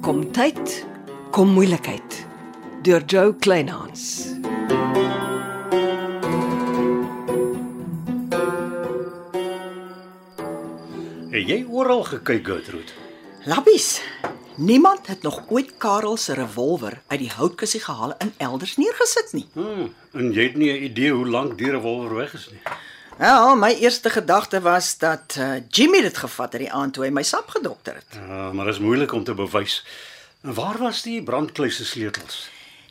Gesondheid kom moeilikheid deur Joe Kleinhans. Het jy oral gekyk, Gertrude? Lappies. Niemand het nog ooit Karel se revolver uit die houtkussie gehaal en elders neergesit nie. Hmm, en jy het nie 'n idee hoe lank die revolver weg is nie. Wel, my eerste gedagte was dat uh, Jimmy dit gevat het die aand toe hy my sap gedokter het. Ja, maar dit is moeilik om te bewys. En waar was die brandkluis se sleutels?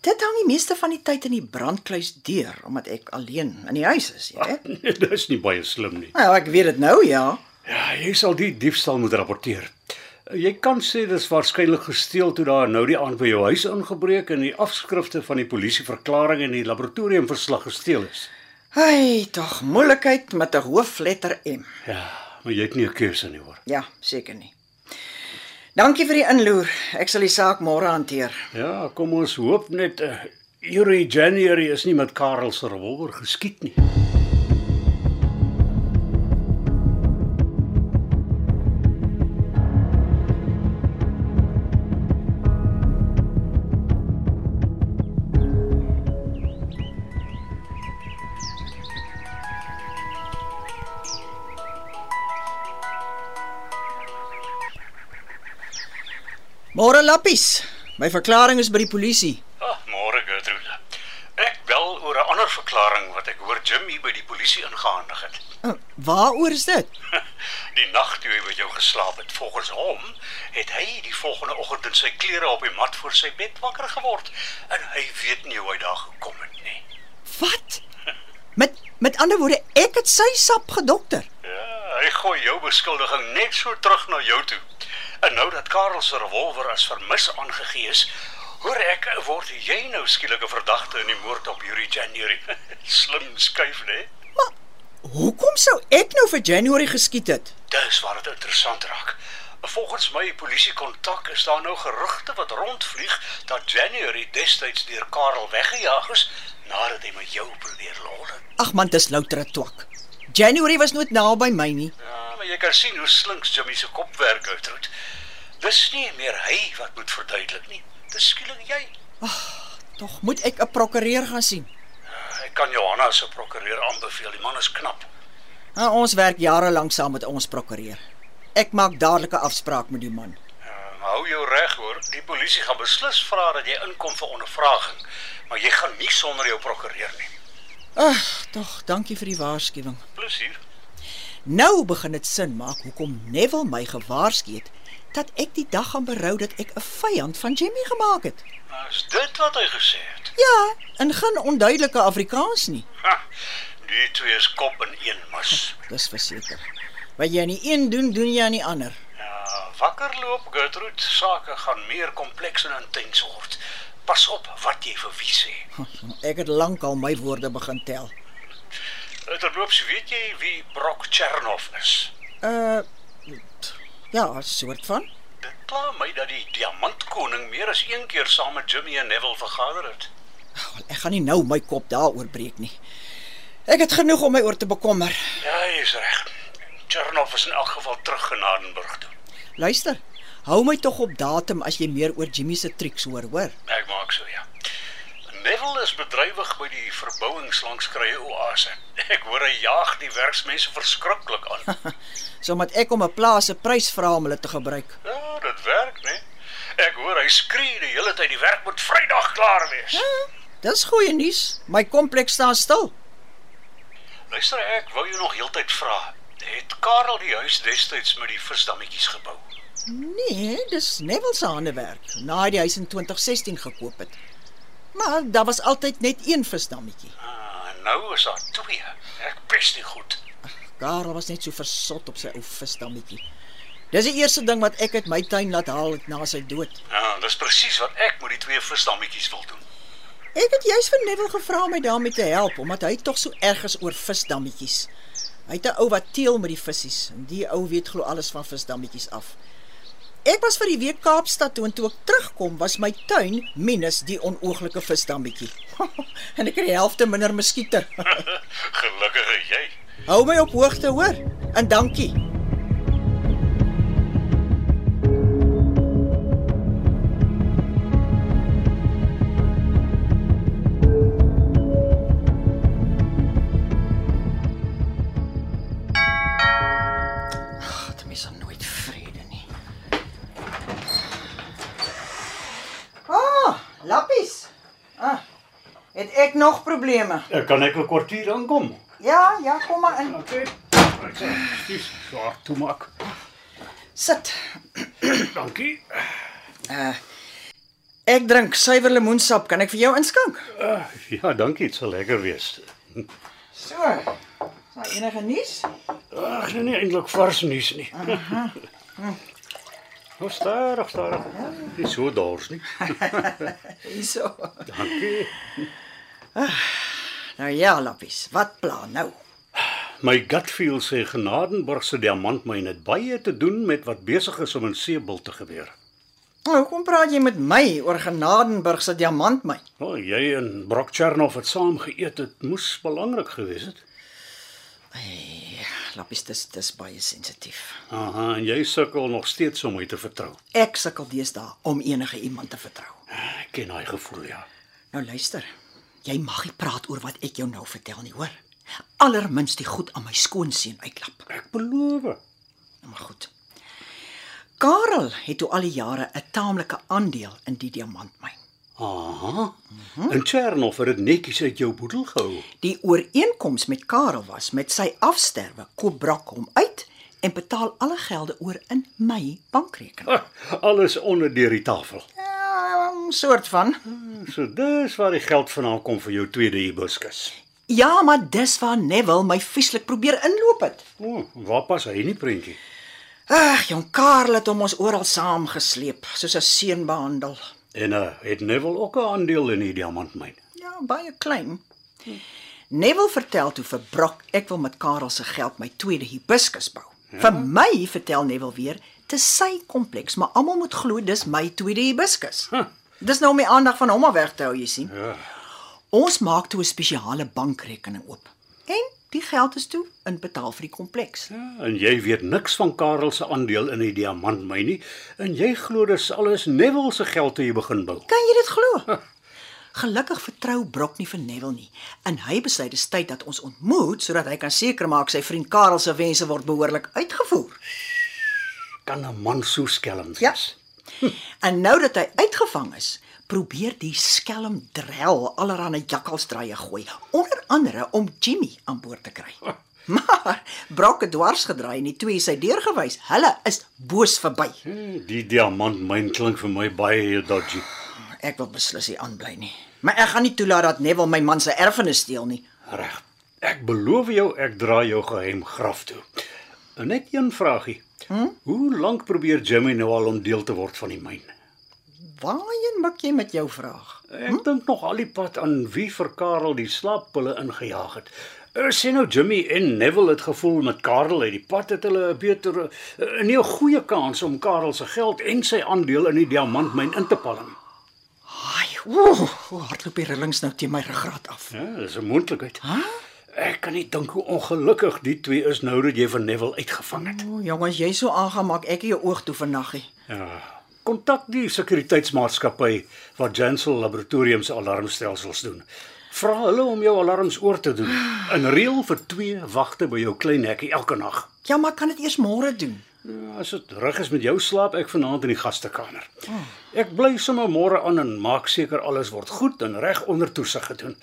Dit hang die meeste van die tyd in die brandkluis deur omdat ek alleen in die huis is, jy weet. Nee, dit is nie baie slim nie. Nou, ek weet dit nou ja. Ja, jy sal die diefstal moet rapporteer. Jy kan sê dis waarskynlik gesteel toe daar nou die aand by jou huis ingebreek en die afskrifte van die polisieverklaring en die laboratoriumverslag gesteel is. Ai, tog moeilikheid met 'n hoofletter M. Ja, maar jy het nie 'n keuse nie hoor. Ja, seker nie. Dankie vir die inloer. Ek sal die saak môre hanteer. Ja, kom ons hoop net uh, Yuri January is nie met Karel se revolver geskiet nie. Môre Lappies. My verklaring is by die polisie. Ag, môre Gertrude. Ek bel oor 'n ander verklaring wat ek hoor Jim hier by die polisie ingehandig het. Uh, waaroor is dit? Die nag toe hy met jou geslaap het, volgens hom, het hy die volgende oggend in sy klere op die mat voor sy bed wakker geword en hy weet nie hoe hy daar gekom het nie. Wat? Met met ander woorde, ek het sy sap gedokter. Ja, hy gooi jou beskuldiging net so terug na jou toe. En nou dat Karel se revolver as vermis aangegee is, hoor ek word jy nou skielik 'n verdagte in die moord op Yuri January. Slim skuif, né? Hoekom sou ek nou vir January geskiet het? Dis waar dit interessant raak. Volgens my polisie kontak is daar nou gerugte wat rondvlieg dat January destyds deur Karel weggejaag is nadat hy met jou probeer lol het. Ag man, dis louter 'n twak. January was nooit naby my nie. Ja, maar jy kan sien hoe slinks Jimmy se kop werk uitroet. Dis nie meer hy wat moet verduidelik nie. Dis skielik jy. Tog moet ek 'n prokureur gaan sien. Ek kan Johanna se prokureur aanbeveel. Die man is knap. Nou, ons werk jare lank saam met ons prokureur. Ek maak dadelik 'n afspraak met die man. Ja, maar hou jou reg hoor. Die polisie gaan beslis vra dat jy inkom vir ondervraging, maar jy gaan nie sonder jou prokureur nie. Ag, tog, dankie vir die waarskuwing. Plezier. Nou begin dit sin maak hoekom Neville my gewaarsku het dat ek die dag gaan berou dat ek 'n vyand van Jimmy gemaak het. Nou, Is dit wat hy gesê het? Ja, in geen onduidelike Afrikaans nie. Ha, die twee is kop in een mas. Dis verseker. Wat jy aan die een doen, doen jy aan die ander. Ja, wakker loop Gertrude, sake gaan meer kompleks en intens word. Pas op wat jy vir wie sê. Ek het lankal my woorde begin tel. Terloops, weet jy wie Brok Chernoff is? Uh t- ja, 'n soort van. Dit kla my dat die diamantkoning meer as een keer saam met Jimmy en Neville vergader het. Ag, wel, Ek gaan nie nou my kop daaroor breek nie. Ek het genoeg om my oor te bekommer. Ja, jy is reg. Chernoff is in elk geval terug genadenburg toe. Luister, hou my tog op datum as jy meer oor Jimmy se triks hoor, hoor. Ek maak so ja. Neville is bedrywig by die verbouings langs Krye Oase. Ek hoor hy jaag die werksmense verskriklik aan. Somat ek om 'n plaas se prys vra om hulle te gebruik. Ja, dit werk, né? Ek hoor hy skree die hele tyd die werk moet Vrydag klaar wees. Dis goeie nuus. My kompleks staan stil. Luister, ek wou jou nog heeltyd vra. Het Karel die huis destyds met die visdammetjies gebou? Nee, dis Neville se handewerk. Na hy die huis in 2016 gekoop het. Maar daar was altyd net een visdammetjie. Ah, en nou is daar twee. Ek pes nie goed. Karel was net so versot op sy ou visdammetjie. Dis die eerste ding wat ek uit my tuin laat haal het na sy dood. Ja, dis presies wat ek met die twee visdammetjies wil doen. Ek het juis vir Neville gevra om my daarmee te help omdat hy tog so erg is oor visdammetjies. Hy het 'n ou wat teel met die vissies en die ou weet glo alles van visdammetjies af. Ek was vir die week Kaapstad toe en toe ek terugkom was my tuin minus die onooglike visdammetjie. en ek het die helfte minder muskieter. Gelukkige jy. Hou my op hoogte hoor en dankie. Ah, ek nog probleme. Ek Eh, kan ek 'n kwartier aankom. Ja, ja, kom maar in. Okay. Ek sê, dis swaar toe maak. Sit. Dankie. Eh, Ek drink suiwer lemoensap. Kan ek vir jou inskank? Uh, ja, dankie, dit sal lekker wees. So. Is daar enige nuus? Ag, nee, nee eintlik vars nuus nie. Hoe stadig, stadig. Nie so dors nie. Hierso. Dankie. Nou ja, lappies. Wat plan nou? My gut feel sê Genadenburg se diamantmyn het baie te doen met wat besig is om in Seebul te gebeur. Nou, hoekom praat jy met my oor Genadenburg se diamantmyn? O, oh, jy en Brock Chernoff het saam geëet, dit moes belangrik gewees het. Eh, Lappies, dis dis baie sensitief. Aha, en jy sukkel nog steeds om my te vertrou. Ek sukkel deesdae om enige iemand te vertrou. Ek ken daai gevoel, ja. Nou luister. Jy mag nie praat oor wat ek jou nou vertel nie, hoor? Allerminst die goed aan my skoonseun uitklap. Ek beloof. Nou maar goed. Karel het toe al die jare 'n taamlike aandeel in die diamantmyn. Aha. En Chernoff het dit netjies uit jou boedel gehou. Die ooreenkoms met Karel was met sy afsterwe koop Brak hom uit en betaal alle gelde oor in my bankrekening. Ah, Alles onder deur die tafel. Ja, 'n soort van. So dis waar die geld vandaan kom vir jou tweede hibiscus. Ja, maar dis waar Neville my vieslik probeer inloop het. O, oh, waar pas hy nie prentjie? Ag, jong Karel het hom ons oral saamgesleep, soos 'n seun behandel. En uh, het Neville ook 'n aandeel in die diamantmyn. Ja, baie klein. Neville vertel toe vir Brock ek wil met Karel se geld my tweede hibiscus bou. Ja? Vir my vertel Neville weer dis sy kompleks, maar almal moet glo dis my tweede hibiscus. Huh. Dis nou om die aandag van hom af weg te hou, jy sien. Ja. Ons maak toe 'n spesiale bankrekening oop. En die geld is toe in betaal vir die kompleks. Ah, En jy weet niks van Karel se aandeel in die diamantmyn nie en jy glo dis alles Neville se geld te begin bou. Kan jy dit glo? Gelukkig vertrou Brock nie vir Neville nie en hy besluit dis tyd dat ons ontmoet sodat hy kan seker maak sy vriend Karel se wense word behoorlik uitgevoer. Kan 'n man so skelm Ja. wees? En nou dat hy uitgevang is, probeer die skelm drel allerlei jakkalsdraaie gooi, onder andere om Jimmy aan boord te kry. Maar Brock het dwars gedraai en die twee is hy deurgewys. Hulle is boos verby. Ja. Die diamantmyn klink vir my baie dodgy. Ek wil beslis nie aanbly nie. Maar ek gaan nie toelaat dat Neville my man se erfenis steel nie. Reg. Ek beloof jou ek dra jou geheim graf toe. En net een vragie. Hm? Hoe lank probeer Jimmy nou al om deel te word van die myn? Waarheen mik jy met jou vraag? Ek hm? dink nog al die pad aan wie vir Karel die slaappille ingejaag het. Eh, Sien nou Jimmy en Neville het gevoel met Karel uit die pad het hulle 'n beter eh, nie 'n goeie kans om Karel se geld en sy aandeel in die diamantmyn in te palm. Ai, ooh, hoe hardloop die rillings nou teen my ruggraat af. Ja, dis 'n moontlikheid. Huh? Ek kan nie dink hoe ongelukkig die twee is nou dat jy van Neville uitgevang het. O, jongens, jy so aangemaak ek jou oog toe vannaggie. Ja. Kontak die sekuriteitsmaatskappy wat Jansel Laboratoriums se alarmstelsels doen. Vra hulle om jou alarms oor te doen. In reël vir 2 wagte by jou klein hekkie elke nag. Ja, maar kan dit eers môre doen? Ja, As dit reg is met jou slaap ek vanaand in die gastekamer. Ek bly sommer môre aan en maak seker alles word goed en reg onder toesig gedoen.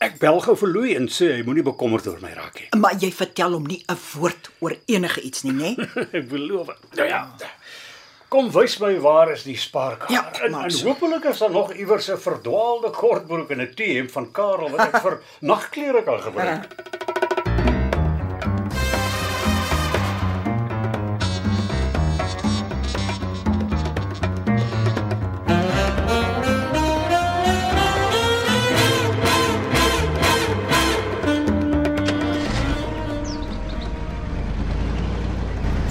Ek bel gou vir Louis en sê hy moenie bekommerd oor my raak nie. Maar jy vertel hom nie 'n woord oor enige iets nie, né? ek beloof. Nou ja. Kom wys my waar is die spaarkamer? Ja, en, maak en so. hopelik is daar nog iewers 'n verdwaalde kortbroek en 'n T-hemp van Karel wat ek vir nagklere kan gebruik.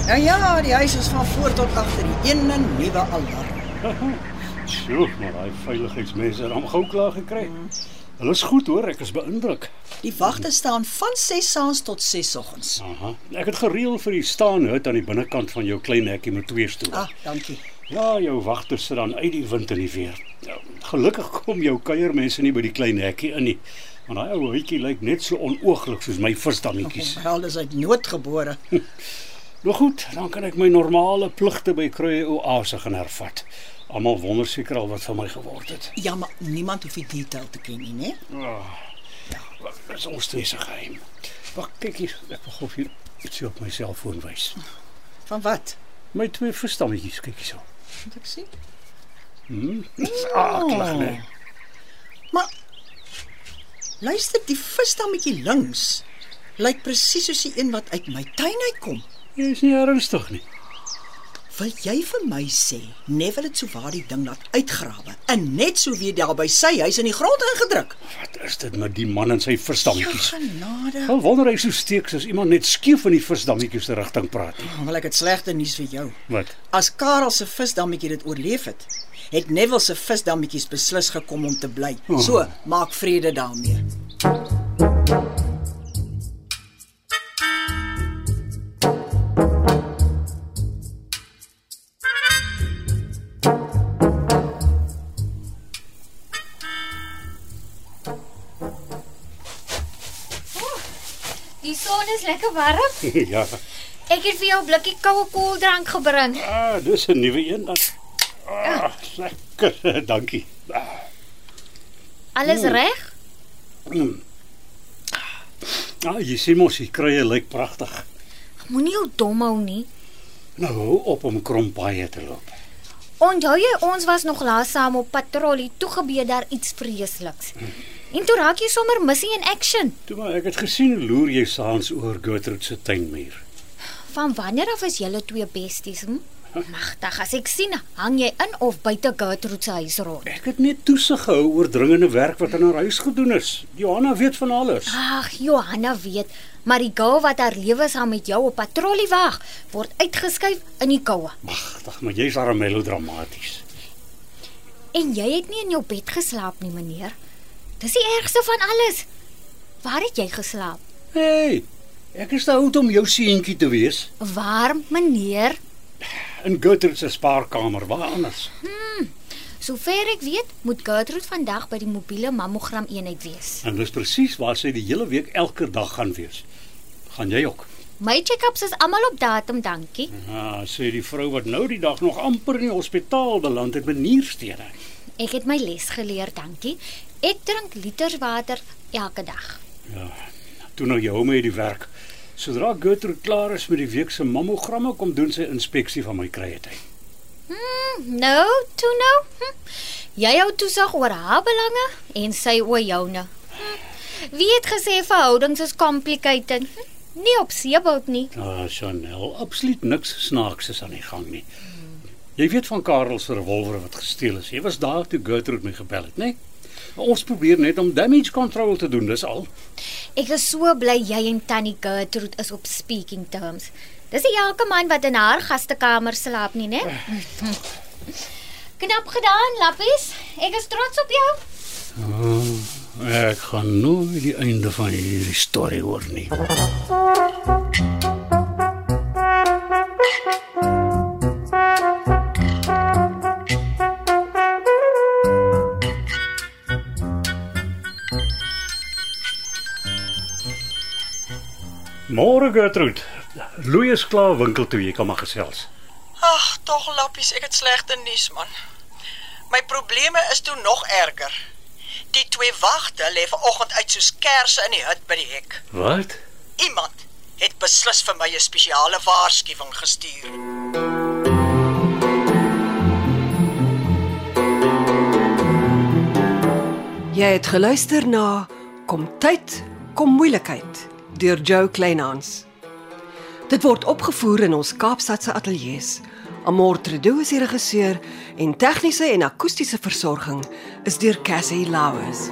Nou ja, die huis is van voor tot agter die een nuwe alarm. Sjoe, maar daai veiligheidsmense het hom gou klaar gekry. Hulle is goed hoor, ek is beïndruk. Die wagte staan van 6 saans tot 6 oggens. Aha. Ek het gereël vir die staanhut aan die binnekant van jou klein hekkie met twee stoele. Ah, dankie. Ja, jou wagters sit dan uit die wind en die weer. Nou, Gelukkig kom jou kuiermense nie by die klein hekkie in nie. Want daai ou hutjie lyk net so onooglik soos my visdammetjies. Wel, dis uit nood gebore. Nou goed, dan kan ek my normale pligte by Kruie Oase gaan hervat. Almal wonder seker al wat van my geword het. Ja, maar niemand hoef die detail te ken nie, né? Wat is ons twee se geheim? Wag, kyk hier, ek wil gou hier iets op my selfoon wys. Van wat? My twee verstammetjies, kyk hierso. Moet ek sien? Dis aardig, né? Maar luister, die visdammetjie links lyk presies soos die een wat uit my tuin uitkom. Jy is nie ernstig nie. Wil jy vir my sê, Neville het souwaar die ding laat uitgrawe en net so weer daar by sy huis in die grond ingedruk? Wat is dit met die man en sy verstammetjies? genade. Wel wonder hy so steeks as iemand net skief van die verstammetjies se rigting praat. nie. Wel ek het slegte nuus vir jou. Wat? As Karel se visdammetjie dit oorleef het, het Neville se visdammetjies beslis gekom om te bly. So, maak vrede daarmee. Die son is lekker warm. ja. Ek het vir jou 'n blikkie koue koeldrank gebring. Ah, dis 'n nuwe een dan. Ah, lekker. Dankie. Ah, Alles reg? Mm. ah, jy sien mos, die kruie lyk pragtig. Moenie jou dom hou nie. Nou hou op om krom baie te loop. Onthou jy ons was nog laas saam op patrollie toe gebeur daar iets vreesliks. En toe raak jy sommer missing in action. Toe maar, ek het gesien hoe loer jy saans oor Gertrude se tuinmuur. Van wanneer af is julle twee besties? Hm? Magtig, as ek sien, hang jy in of buite Gertrude se huis rond. Ek het net toesig gehou oor dringende werk wat aan haar huis gedoen is. Johanna weet van alles. Ag, Johanna weet, maar die girl wat haar lewe saam met jou op patrollie wag, word uitgeskuif in die koue. Magtig, maar jy's haar melodramaties. En jy het nie in jou bed geslaap nie, meneer. Dis die ergste van alles. Waar het jy geslaap? Hey, ek is te oud om jou seentjie te wees. Warm, meneer. In Gertrude se spaarkamer, waar anders? Sover ek weet, moet Gertrude vandag by die mobiele mammogram eenheid wees. En dis presies waar sy die hele week elke dag gaan wees. Gaan jy ook? My check-ups is almal op datum, dankie. Ah, sê die vrou wat nou die dag nog amper in die hospitaal beland het met nierstene. Ek het my les geleer, dankie. Ek drink liters water elke dag. Ja. Toe nou jy hom uit die werk. Sodra Gertrude klaar is met die week se mammogramme, kom doen sy inspeksie van my kryetheid. Hm, nou, toe nou. Hm. Jy hou toesig oor haar belange en sy oor joune. Hm. Wie het gesê verhoudings is complicated? Hm. Nie op seebout nie. Ah, Chanel, absoluut niks snaaks is aan die gang nie. Jy weet van Karel se revolver wat gesteel is. Jy was daar toe Gertrude my gebel het, né? Nee? Ons probeer net om damage control te doen, dis al. Ek is so bly jy en Tannie Gertrude is op speaking terms. Dis nie elke man wat in haar gastekamer slaap nie, né? Knap gedaan, Lappies. Ek is trots op jou. Ek gaan Eh, nooit die einde van hierdie storie hoor nie. Môre Gertrude. Louis is klaar winkel toe, jy kan maar gesels. Ag, tog lappies, ek het slegte nuus man. My probleme is toe nog erger. Die twee wagte lê vanoggend uit soos kersse in die hut by die hek. Wat? Iemand het beslis vir my 'n spesiale waarskuwing gestuur. Jy het geluister na Kom tyd, kom moeilikheid deur Jo Kleinhans. Dit word opgevoer in ons Kaapstadse ateljee se. Amortredo is die regisseur en tegniese en akoestiese versorging is deur Cassie Lauers.